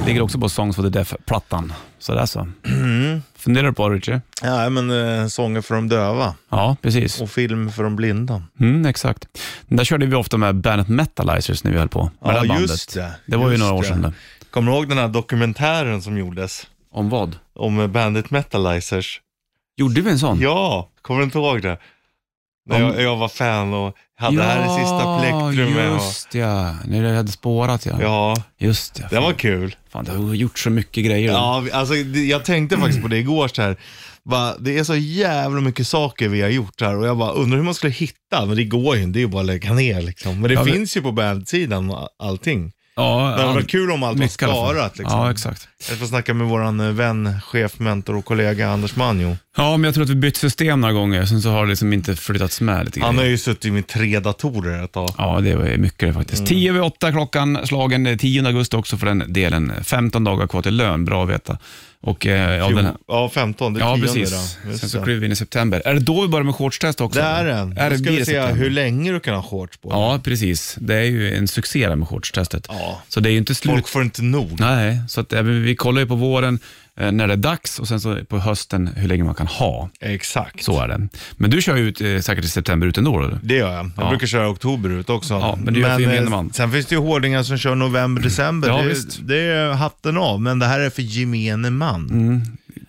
B: Ligger också på Songs for the Deaf-plattan. Så där så.
C: Mm.
B: Funderar du på det, Richie?
C: Ja, men eh, sånger för de döva
B: Ja, precis.
C: och film för de blinda.
B: Mm, exakt. Den där körde vi ofta med bandet Metalizers när vi höll på. Med
C: Ja,
B: det här bandet.
C: just det.
B: Det var ju
C: Just
B: några år
C: det.
B: sedan. Det.
C: Kommer du ihåg den här dokumentären som gjordes
B: Om vad?
C: om eh, bandet Metalizers?
B: Gjorde vi en sån?
C: Ja, kommer du inte ihåg det? När
B: Om-
C: jag, jag var fan och hade det här i sista plektrumet. och-
B: just ja. När det hade spårat ja.
C: Ja,
B: Just ja.
C: det var
B: Fan.
C: kul.
B: Fan, det har gjort så mycket grejer.
C: Ja, vi- alltså, det- jag tänkte faktiskt på det igår så här. Bara, det är så jävla mycket saker vi har gjort här och jag bara undrar hur man skulle hitta, men det går ju inte, det är ju bara att lägga ner liksom. Men det
B: Ja, men-
C: finns ju på bandsidan och allting.
B: ja
C: Det hade
B: all-
C: varit kul om allt var
B: mycket i alla fall.
C: sparat liksom.
B: Ja, exakt.
C: Jag får snacka med våran eh, vän, chef, mentor och kollega Anders Manjo.
B: Ja, men jag tror att vi bytt system några gånger, sen så har det liksom inte flyttats med lite
C: Han
B: grejer.
C: har ju suttit med tre datorer ett tag.
B: Ja, det var ju mycket det faktiskt.
C: Mm.
B: 10 över 8 klockan slagen, det är 10 augusti också för den delen. 15 dagar kvar till lön, bra att veta. Och, eh, ja,
C: Jo,
B: den här,
C: ja, 15, det är
B: ja,
C: tionde
B: precis.
C: då. Just
B: Sen så
C: det.
B: kliver vi in i september. Är det då vi börjar med shortstest också?
C: Det är den.
B: Är
C: Då
B: det,
C: ska
B: blir
C: vi
B: det
C: se
B: september?
C: hur länge du kan ha shorts på.
B: Ja, precis. Det är ju en succé där med shortstestet.
C: Ja.
B: Så det är ju inte slut.
C: Folk får inte nog.
B: Nej, så att, eh, vi kollar ju på våren eh, när det är dags och sen så på hösten hur länge man kan ha.
C: Exakt.
B: Så är det. Men du kör ju ut eh, säkert i september ut ändå? Eller?
C: Det gör jag. Jag
B: Ja.
C: brukar köra oktober ut också.
B: Ja, men det gör gemene
C: eh,
B: man.
C: Sen finns det ju hårdingar som kör november, december.
B: Ja,
C: det,
B: visst.
C: det är hatten av, men det här är för gemene man.
B: Mm.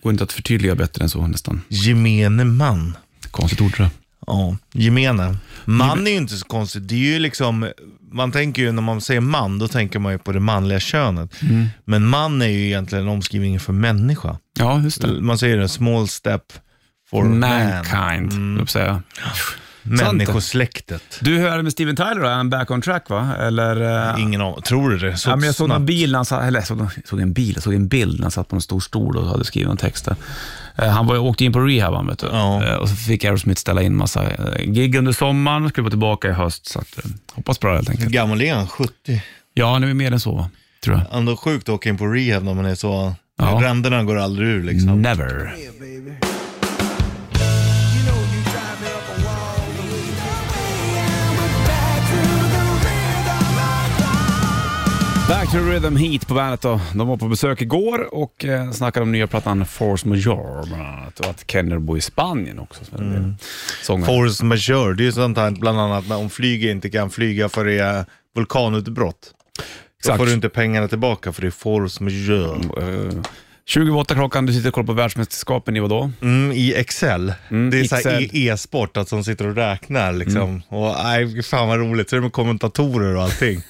B: Går inte att förtydliga bättre än så nästan.
C: Gemene man.
B: Konstigt ord tror jag.
C: Ja, gemene. Man är ju inte så konstigt. Det är ju liksom, man tänker ju när man säger man, då tänker man ju på det manliga könet.
B: Mm.
C: Men man är ju egentligen omskrivningen för människa.
B: Ja, just det.
C: Man säger det, small step for man.
B: Mankind, mm. säga.
C: Människosläktet.
B: Du hörde med Steven Tyler då, är han back on track va? Eller? eh,
C: Ingen aning. Tror du det? Så
B: ja, men jag såg
C: snabbt.
B: en bil, när han satt, eller jag såg, jag såg en bil, jag såg en bild när han satt på en stor stol och hade skrivit en text där. Eh, Han var, åkte in på rehab han, vet du.
C: Ja.
B: Eh, Och så fick Aerosmith ställa in massa eh, gig under sommaren, skulle vara tillbaka i höst. Så att, eh, hoppas bra helt
C: Hur
B: enkelt.
C: gammal är han? 70?
B: Ja, han är väl mer än så va? Tror jag.
C: ändå sjukt att åka in på rehab när man är så...
B: Ja. Mm.
C: Ränderna går aldrig ur liksom.
B: Never. Back to Rhythm Heat på bandet då. De var på besök igår och eh, snackade om nya plattan Force Majeure bland annat. Och att Kenner bor i Spanien också. Som mm.
C: Force majeure, det är ju sånt här bland annat när om flyget inte kan flyga för det är vulkanutbrott. Då
B: Exakt.
C: får du inte pengarna tillbaka för det är force majeure.
B: Eh, 28 klockan, du sitter och kollar på världsmästerskapen i vadå?
C: Mm, I Excel. det är så här
B: Mm, Excel. Mm.
C: e- e-sport, att de sitter och räknar liksom. Och nej, fan vad roligt. Så är det med kommentatorer och allting.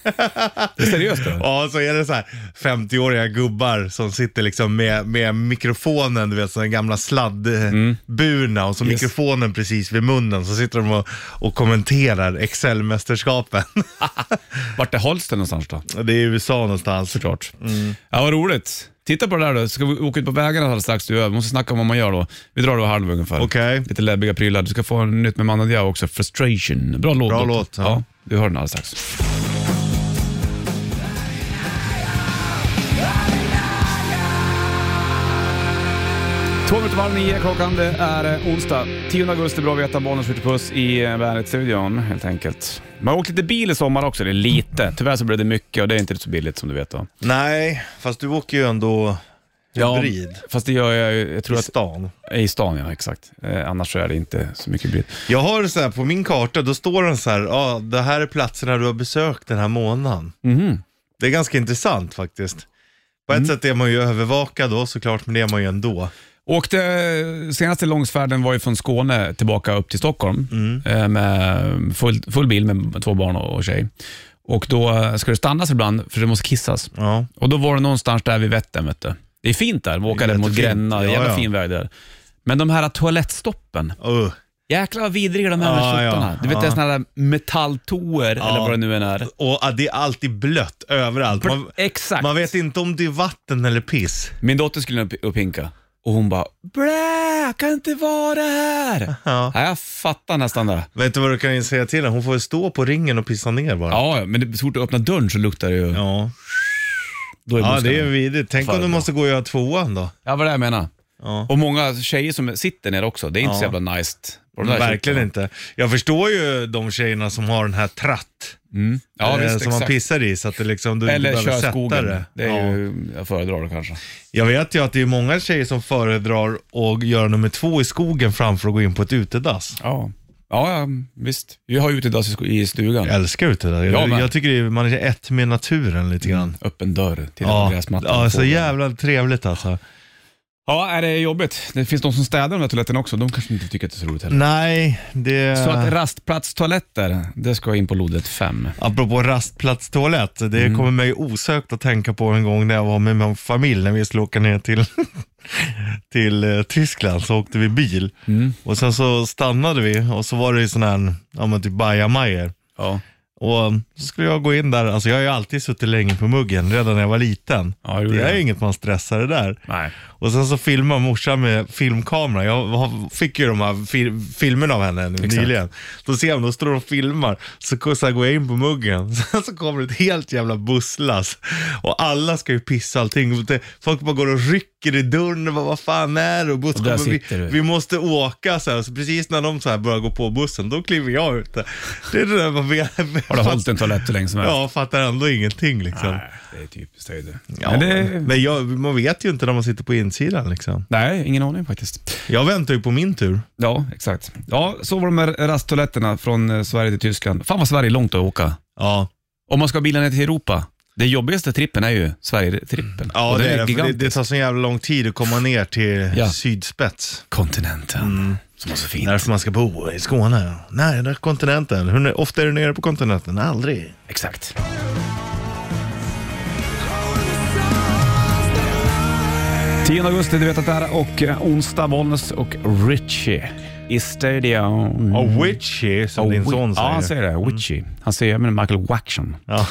B: Det är seriöst då?
C: Ja, så är det så här 50-åriga gubbar som sitter liksom med, med mikrofonen, du vet, sådana gamla sladdburna och så mikrofonen precis vid munnen. Så sitter de och, och kommenterar Excel-mästerskapen.
B: Vart det hålls det någonstans då?
C: det är i USA någonstans.
B: såklart. Ja, vad roligt. Titta på det där då. Ska vi åka ut på vägarna alldeles strax? Du Vi måste snacka om vad man gör då. Vi drar då halv ungefär.
C: Okej.
B: Lite läbbiga prylar. Du ska få en nytt med Manda Diao också. Frustration. Bra låt.
C: Bra
B: Otto.
C: låt,
B: Ja.
C: ja.
B: du hör den alldeles strax. Två minuter varv nio klockan, det är eh, onsdag. 10 augusti, bra att veta. Barnen skjuter puss i eh, Bandet-studion helt enkelt. Man har åkt lite bil i sommar också, eller lite. Tyvärr så blev det mycket och det är inte så billigt som du vet. Då.
C: Nej, fast du åker ju ändå hybrid
B: fast det gör jag ju- jag tror
C: i
B: att...
C: stan.
B: I stan, ja exakt. Eh, annars så är det inte så mycket hybrid.
C: Jag har så här, på min karta, då står den så här, ja det här är platserna du har besökt den här månaden. Det är ganska intressant faktiskt. På ett sätt är man ju övervakad då såklart, men det är man ju ändå.
B: Åkte, senaste långsfärden var ju från Skåne tillbaka upp till Stockholm
C: Mm.
B: eh, med full, full bil med två barn och, och tjej. Och då eh, ska det stannas ibland för det måste kissas.
C: Ja.
B: Och då var det någonstans där vid Vättern. Vet du. Det är fint där, man åker
C: Det är
B: där mot
C: jättefint.
B: Gränna, det är en jävla
C: Ja, ja.
B: fin väg där. Men de här toalettstoppen,
C: Uh.
B: jäklar vad vidriga de här
C: Ja,
B: med skjortorna.
C: ja.
B: Du vet
C: Ja.
B: det är såna här metalltoer eller vad det nu än är.
C: Och ah, det är alltid blött överallt. Man,
B: Exakt.
C: man vet inte om det är vatten eller piss.
B: Min dotter skulle upp och pinka och hon bara “Blä, kan inte vara här!”
C: Ja.
B: ja, Jag fattar nästan det.
C: Vet du vad du kan säga till henne? Hon får ju stå på ringen och pissa ner bara.
B: Ja, ja, men det, så fort du öppnar dörren så luktar det ju.
C: Ja,
B: Då är
C: ja
B: buskarna.
C: det är vidrigt. Tänk om
B: Fan,
C: du
B: ja.
C: måste gå och göra tvåan då.
B: Ja, vad det jag menar.
C: Ja.
B: Och många tjejer som sitter ner också. Det är inte så
C: Ja.
B: jävla nice. på de där
C: Verkligen
B: tjejerna.
C: inte. Jag förstår ju de tjejerna som har den här tratt.
B: Mm. Ja,
C: eh,
B: visst,
C: som man
B: exakt.
C: pissar i så att det liksom, du
B: Eller
C: inte behöver
B: kör
C: sätta
B: skogen.
C: det.
B: Det. är ju, jag föredrar det kanske.
C: Jag vet ju att det är många tjejer som föredrar att göra nummer två i skogen framför att gå in på ett utedass.
B: Ja, ja, ja visst. Vi har ju utedass i sko- i stugan.
C: Jag älskar utedass.
B: Jag
C: Jag,
B: med.
C: jag tycker det är, man är ett med naturen lite grann.
B: Öppen dörr till
C: Ja,
B: gräsmattan.
C: ja, så
B: Fågel.
C: jävla trevligt alltså.
B: Ja, är det jobbigt? Det finns de som städar de där toaletterna också. De kanske inte tycker att det är så roligt heller.
C: Nej, det...
B: Så att rastplatstoaletter, det ska in på lodrätt 5.
C: Apropå rastplatstoalett, det
B: Mm.
C: kommer mig osökt att tänka på en gång när jag var med min familj när vi skulle åka ner till, till eh, Tyskland så åkte vi bil
B: Mm.
C: och sen så stannade vi och så var det ju sån här, ja men typ bajamajor.
B: Ja.
C: Och så skulle jag gå in där, alltså jag har ju alltid suttit länge på muggen redan när jag var liten.
B: Ja, det gjorde
C: det är
B: jag.
C: ju inget man stressar det där.
B: Nej.
C: Och sen så filmade morsan med filmkamera. Jag har- fick ju de här fil- filmerna av henne nyligen. Då ser jag, då står de och filmar. Så, k- så här går jag in på muggen. Sen så kommer det ett helt jävla busslass. Och alla ska ju pissa allting. Det- Folk bara går och rycker i dörren. Och bara, vad fan är det? Och buss
B: Och där
C: kommer, vi,
B: sitter du.
C: vi måste åka. Så, här. så precis när de så här börjar gå på bussen, då kliver jag ut. Det är det där man vet.
B: Har du hållit en toalett hur länge som helst?
C: Ja, fattar ändå ingenting liksom.
B: Nej, det är typiskt dig det.
C: Ja,
B: men
C: men
B: det...
C: men jag, man vet ju inte när man sitter på insidan liksom.
B: Nej, ingen aning faktiskt.
C: Jag väntar ju på min tur.
B: Ja, exakt. Ja, så var de här rasttoaletterna från eh, Sverige till Tyskland. Fan vad Sverige är långt att åka.
C: Ja,
B: Om man ska bilen ner till Europa, den jobbigaste trippen är ju Sverige-trippen.
C: Mm. ja
B: Och
C: det,
B: den
C: är det, för det.
B: gigantisk.
C: Det tar så jävla lång tid att komma ner till
B: Ja.
C: sydspets.
B: Kontinenten,
C: Mm.
B: som var så fint.
C: Därför man ska bo i Skåne. Nej, det är kontinenten. Hur ofta är du nere på kontinenten? Aldrig.
B: Exakt. augusti, du vet att det är och eh, onsdag, Bollnäs och Richie i studion.
C: Och witchy, som
B: Och
C: din
B: Wi-
C: son
B: Mm. Ja, han
C: säger.
B: säger Mm. det. Witchy. Han säger även Michael Waction.
C: Ja.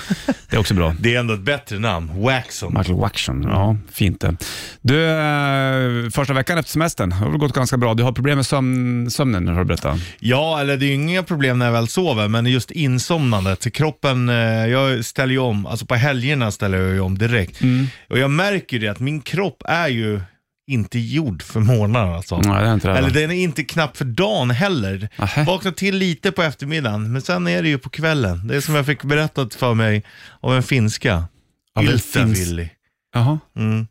B: Det är också bra.
C: Det är ändå ett bättre namn. Waxon.
B: Michael Waction. Ja, fint det. Du, eh, första veckan efter semestern har det gått ganska bra. Du har problem med sömn, sömnen, har du berättat.
C: Ja, eller det är ju inga problem när jag väl sover, men just insomnandet. Kroppen, eh, jag ställer ju om, alltså på helgerna ställer jag ju om direkt.
B: Mm.
C: Och jag märker ju det att min kropp är ju inte gjord för morgnar alltså.
B: Nej, det är inte det.
C: Eller
B: va?
C: den är inte knapp för dagen heller.
B: Aha.
C: Vaknar till lite på eftermiddagen, men sen är det ju på kvällen. Det är som jag fick berättat för mig av en finska.
B: Av en finsk-
C: Yltävilli.
B: Jaha,
C: Mm.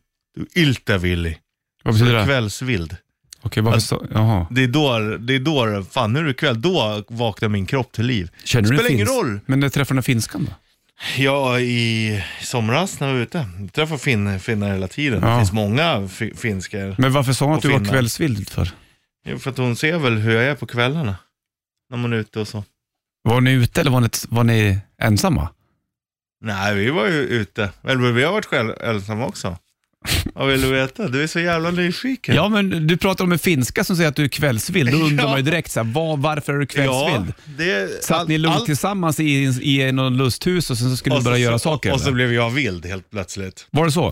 C: Yltävilli.
B: vad betyder det?
C: Kvällsvild.
B: Okej, varför så? Jaha.
C: Det är då, det är då, fan nu är det kväll, då vaknar min kropp till liv.
B: Känner du
C: Spelar
B: det
C: ingen
B: finns?
C: roll.
B: Men du träffar den finskan då?
C: Ja, i somras när jag var ute, jag träffar fin, finnar hela tiden.
B: Ja.
C: Det finns många fi, finskar.
B: Men varför sa hon att
C: Och
B: du var
C: finnar.
B: kvällsvild för?
C: Jo, För att hon ser väl hur jag är på kvällarna. När man är ute och så.
B: Var ni ute eller var ni, var ni ensamma?
C: Nej, vi var ju ute. Eller vi har varit själv ensamma också. Vad vill du veta? Du är så jävla nyfiken.
B: Ja, men du pratar om en finska som säger att du är kvällsvild. Då undrar
C: Ja.
B: man ju direkt så här, var, varför är du kvällsvild?
C: Ja, det,
B: Satt ni lugnt tillsammans i, i någon lusthus och sen så skulle
C: och
B: du
C: så-
B: börja göra
C: och-
B: saker?
C: Och så
B: eller?
C: blev jag vild helt plötsligt.
B: Var det så?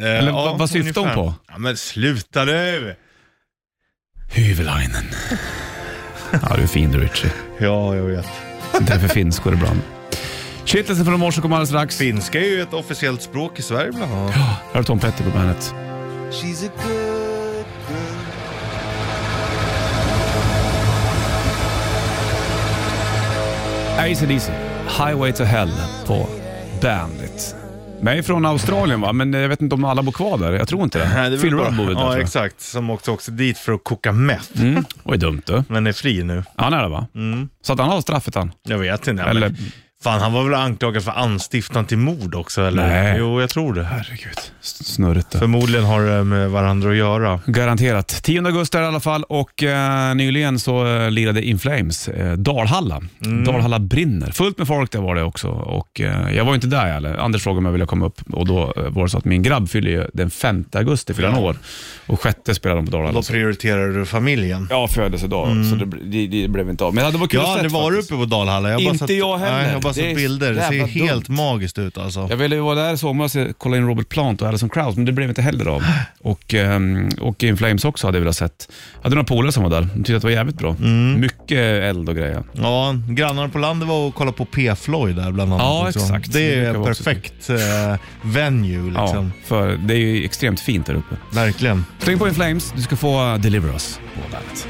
C: Eh,
B: Eller vad- vad syftar hon
C: ungefär.
B: på?
C: Ja, men sluta nu!
B: Hyvelainen. Ja, du är fin du Richie.
C: Ja, jag vet.
B: Sånt där för finskor ibland. Kittelsen från morse kommer alldeles strax.
C: Finska är ju ett officiellt språk i Sverige bland annat.
B: Här är Tom Petty på bandet.
D: She's a good girl.
B: AC DC, Highway to Hell på Bandit. Nej, från Australien va? Men eh, jag vet inte om alla bor kvar där. Jag tror inte det.
C: Nej, det är väl
B: Phil
C: bra.
B: Rudd bor väl där
C: Ja,
B: tror jag.
C: exakt. Som åkte också dit för att koka meth.
B: Mm. Oj, dumt du.
C: Men är fri nu.
B: Han är det va?
C: Mm.
B: Så att han har straffet han.
C: Jag vet inte.
B: Eller-
C: Eller... Fan, han var väl anklagad för anstiftan till mord också? Eller?
B: Nej.
C: Jo, jag tror det.
B: Herregud, S- snurrigt det.
C: Förmodligen har det med varandra att göra.
B: Garanterat. 10 augusti är det i alla fall och eh, nyligen så eh, lirade In Flames eh, Dalhalla. Dalhalla brinner. Fullt med folk där var det också. Och, eh, jag var ju inte där heller. Anders frågade om jag ville komma upp och då eh, var det så att min grabb fyller ju den 5 augusti, fyller han år. Och sjätte spelar de på Dalhalla.
C: Då prioriterar du familjen.
B: Ja, födelsedag. Så det, bl- det, det blev inte av. Men det hade varit kul
C: Jag
B: att
C: har
B: sett
C: aldrig varit
B: faktiskt.
C: uppe på Dalhalla. Jag har
B: Inte
C: bara sett,
B: jag heller.
C: Nej, jag har bara
B: Det är
C: sett bilder. Det ser
B: jävla
C: helt magiskt ut alltså.
B: Jag ville ju vara där i somras och kolla in Robert Plant och Alison Krauss, men det blev inte heller av. Och, ehm, och In Flames också hade jag velat sett. Jag hade några polare som var där. De tyckte att det var jävligt bra. Mycket eld och grejer.
C: Ja, grannarna på landet var och kollade på P-Floyd där bland annat.
B: Ja,
C: också.
B: exakt.
C: Det
B: Det
C: är
B: brukar vi också
C: perfekt eh, venue liksom.
B: Ja, för det är ju extremt fint där uppe.
C: Verkligen.
B: Släng på In Flames, du ska få eh, Deliver Us på bandet.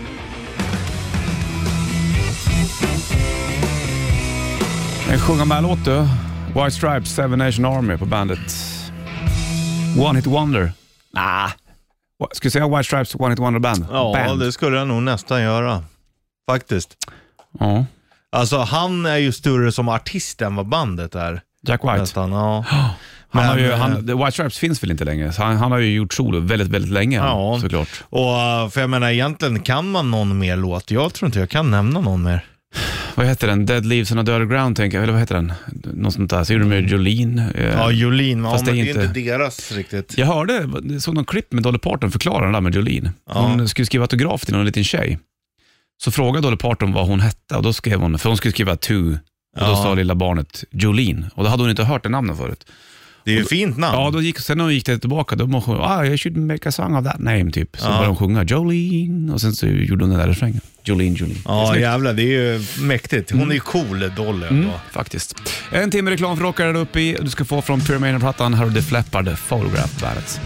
B: En sjunga med låt du. White Stripes, Seven Nation Army på bandet. One Hit Wonder. Nah. Wa- Ska jag säga White Stripes One Hit Wonder Band?
C: Ja,
B: band.
C: det skulle jag nog nästan göra. Faktiskt.
B: Ja.
C: Alltså han är ju större som artist än vad bandet är.
B: Jack White.
C: Nästan, ja.
B: Han har ju,
C: Men, eh,
B: han, The White Stripes finns väl inte längre? Så han, han har ju gjort solo väldigt, väldigt länge
C: Ja.
B: såklart.
C: Och, eh, för jag menar egentligen, kan man någon mer låt? Jag tror inte jag kan nämna någon mer.
B: Vad heter den? Dead Leaves on a Dirty Ground tänker jag, eller vad heter den? Något sånt där. Så gjorde de med Jolene. eh,
C: Ja, Jolene, ja,
B: Fast
C: men
B: det
C: det
B: är
C: är inte
B: inte
C: deras riktigt.
B: Jag hörde, jag såg någon klipp med Dolly Parton förklara den där med Jolene. Hon skulle skriva autograf till någon liten tjej. Så frågade Dolly Parton vad hon hette och då skrev hon, för hon skulle skriva two, och då
C: Ja.
B: sa lilla barnet Jolene. Och då hade hon inte hört det namnet förut.
C: Det är ju fint namn.
B: Ja, då gick, sen när hon gick det tillbaka, då måste hon, ah, I should make a song of that name, typ. Så
C: Ja.
B: började hon sjunga Jolene och sen så gjorde hon den där refrängen. Jolene, Jolene. Det är
C: Ja,
B: snyggt, Mm.
C: jävlar. Det är ju mäktigt. Hon är ju cool, Dolly. ändå.
B: Faktiskt. En timme reklam för rockare där uppe i. Du ska få från Pyramiden-plattan. Här har du The Flappard, Photograph Bandet.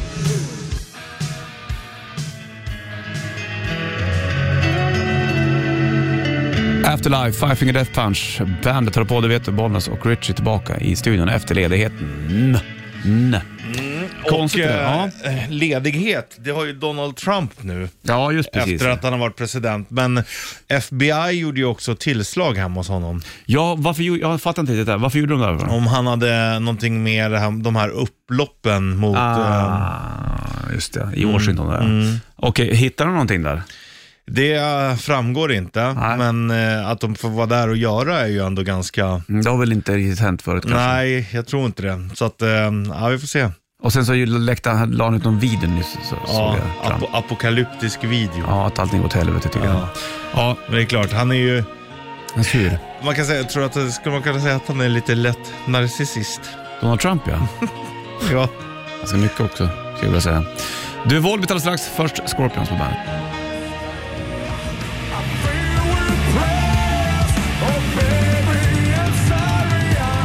B: Afterlife, Five Finger Death Punch. Bandet håller på, det vet du. Bollnäs och Richie tillbaka i studion efter ledigheten. Mm. Mm. Konstigt
C: Och,
B: det, ja.
C: eh, Ledighet, det har ju Donald Trump nu.
B: ja, just precis.
C: Efter att han har varit president. Men FBI gjorde ju också tillslag hemma hos honom.
B: Ja, varför, gjorde- jag fattar inte riktigt det där. Varför gjorde de det? här?
C: Om han hade någonting med det här, de här upploppen mot... eh, Mm,
B: Ah, just det. I Washington där. Okej, hittar de någonting där?
C: det eh, framgår inte,
B: Nej.
C: men eh, att de får vara där och göra är ju ändå ganska...
B: Det har väl inte riktigt hänt förut kanske?
C: Mm. Nej, jag tror inte det. Så att, eh, ja vi får se.
B: Och sen så läckte han, la han ut någon video nyss, så, såg
C: Ja,
B: jag. Trump.
C: ap- apokalyptisk video.
B: Ja, att allting går åt helvete tycker
C: Ja.
B: han. Ja,
C: Men det är klart, han är ju...
B: han är sur.
C: Man kan säga, jag tror att, det- skulle man kunna säga att han är lite lätt narcissist?
B: Donald Trump ja.
C: Ja.
B: Ganska mycket också, skulle jag vilja säga. Du, Volbit alldeles strax. Först Scorpions på bandet.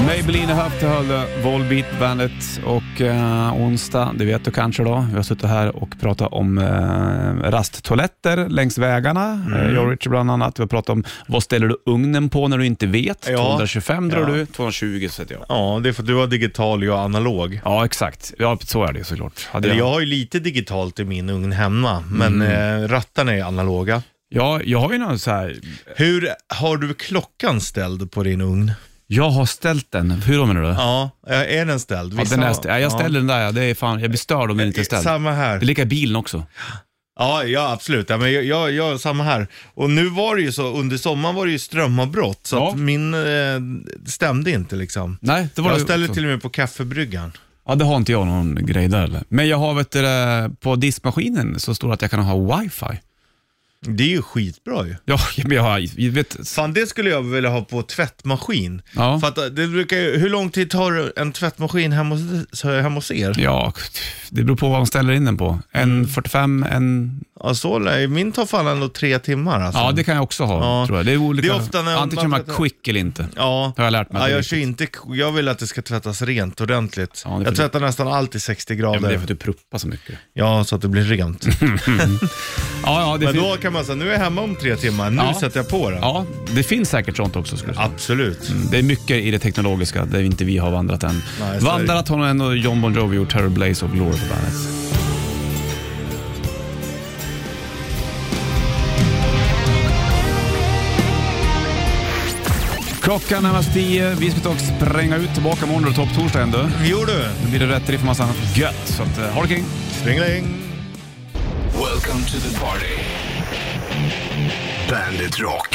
B: Maybelline Höft höll Volbeat bandet och eh, onsdag, det vet du kanske då, vi har suttit här och pratat om eh, rasttoaletter längs vägarna,
C: Mm.
B: eh, jag och Richard bland annat. Vi har pratat om vad ställer du ugnen på när du inte vet?
C: Ja.
B: 225 drar
C: Ja.
B: du, 220 sätter jag.
C: ja, det är för att du var digital och jag analog.
B: Ja, exakt. Ja, så är det ju såklart. Hade
C: Eller
B: jag-
C: jag har ju lite digitalt i min ugn hemma, men
B: Mm.
C: eh, rattarna är analoga.
B: Ja, jag har ju någon så här...
C: Hur har du klockan ställd på din ugn?
B: Jag har ställt den. Hur då menar du? Ja,
C: Ja, eh, är den ställd? Vissa-
B: den är stä- ja, jag ställer den där. Ja. Det är fan, jag blir störd om den inte är ställd.
C: Eh, Samma här.
B: Det är lika i bilen också.
C: Ja, ja absolut. Ja, men jag, jag, jag, samma här. Och nu var det ju så, under sommaren var det ju strömavbrott, så
B: Ja.
C: att min eh, stämde inte liksom.
B: Nej, det var
C: jag
B: det
C: ställer
B: också.
C: till och med på kaffebryggan.
B: Ja, det har inte jag någon grej där eller. Men jag har vet du, det, på diskmaskinen så står det att jag kan ha wifi.
C: Det är ju skitbra ju.
B: Ja, men jag har... jag Vet,
C: Fan, det skulle jag vilja ha på tvättmaskin.
B: Ja.
C: För att eh, det brukar ju, hur lång tid tar en tvättmaskin hemma hos, hemma hos er?
B: ja, det beror på vad man ställer in den på. En
C: Mm.
B: 45, en...
C: Ja, så lär- min tar fan ändå tre timmar alltså.
B: Ja, det kan jag också ha
C: Ja.
B: tror jag. Det är olika.
C: Det är ofta när
B: Antingen
C: man-
B: kör man quick eller inte.
C: Ja,
B: Har jag lärt mig att
C: Ja,
B: det är
C: jag, kör inte, jag vill att det ska tvättas rent ordentligt.
B: Ja, det är för-
C: jag tvättar nästan alltid 60
B: Ja, men
C: grader.
B: det är
C: Ja,
B: för att du pruppar så mycket.
C: så att det blir rent.
B: Ja, ja, det
C: Men
B: finns-
C: då kan man så här, nu är jag hemma om tre timmar, nu
B: Ja.
C: sätter jag på den.
B: Ja, det finns säkert sånt också skulle jag säga.
C: Absolut.
B: Det är mycket i det teknologiska där inte vi har vandrat än.
C: så är det.
B: vandrat har nog ändå John Bon Jovi gjort, Terror Blaze och Glory på bandet. Klockan närmast tio. Vi ska ta och spränga ut tillbaka imorgon och topptorsdag ändå.
C: Jo du.
B: Då blir det rätt riff och massa annat gött. Så att, eh, ha det kring.
C: Springling.
F: Welcome to the party. Bandit Rock.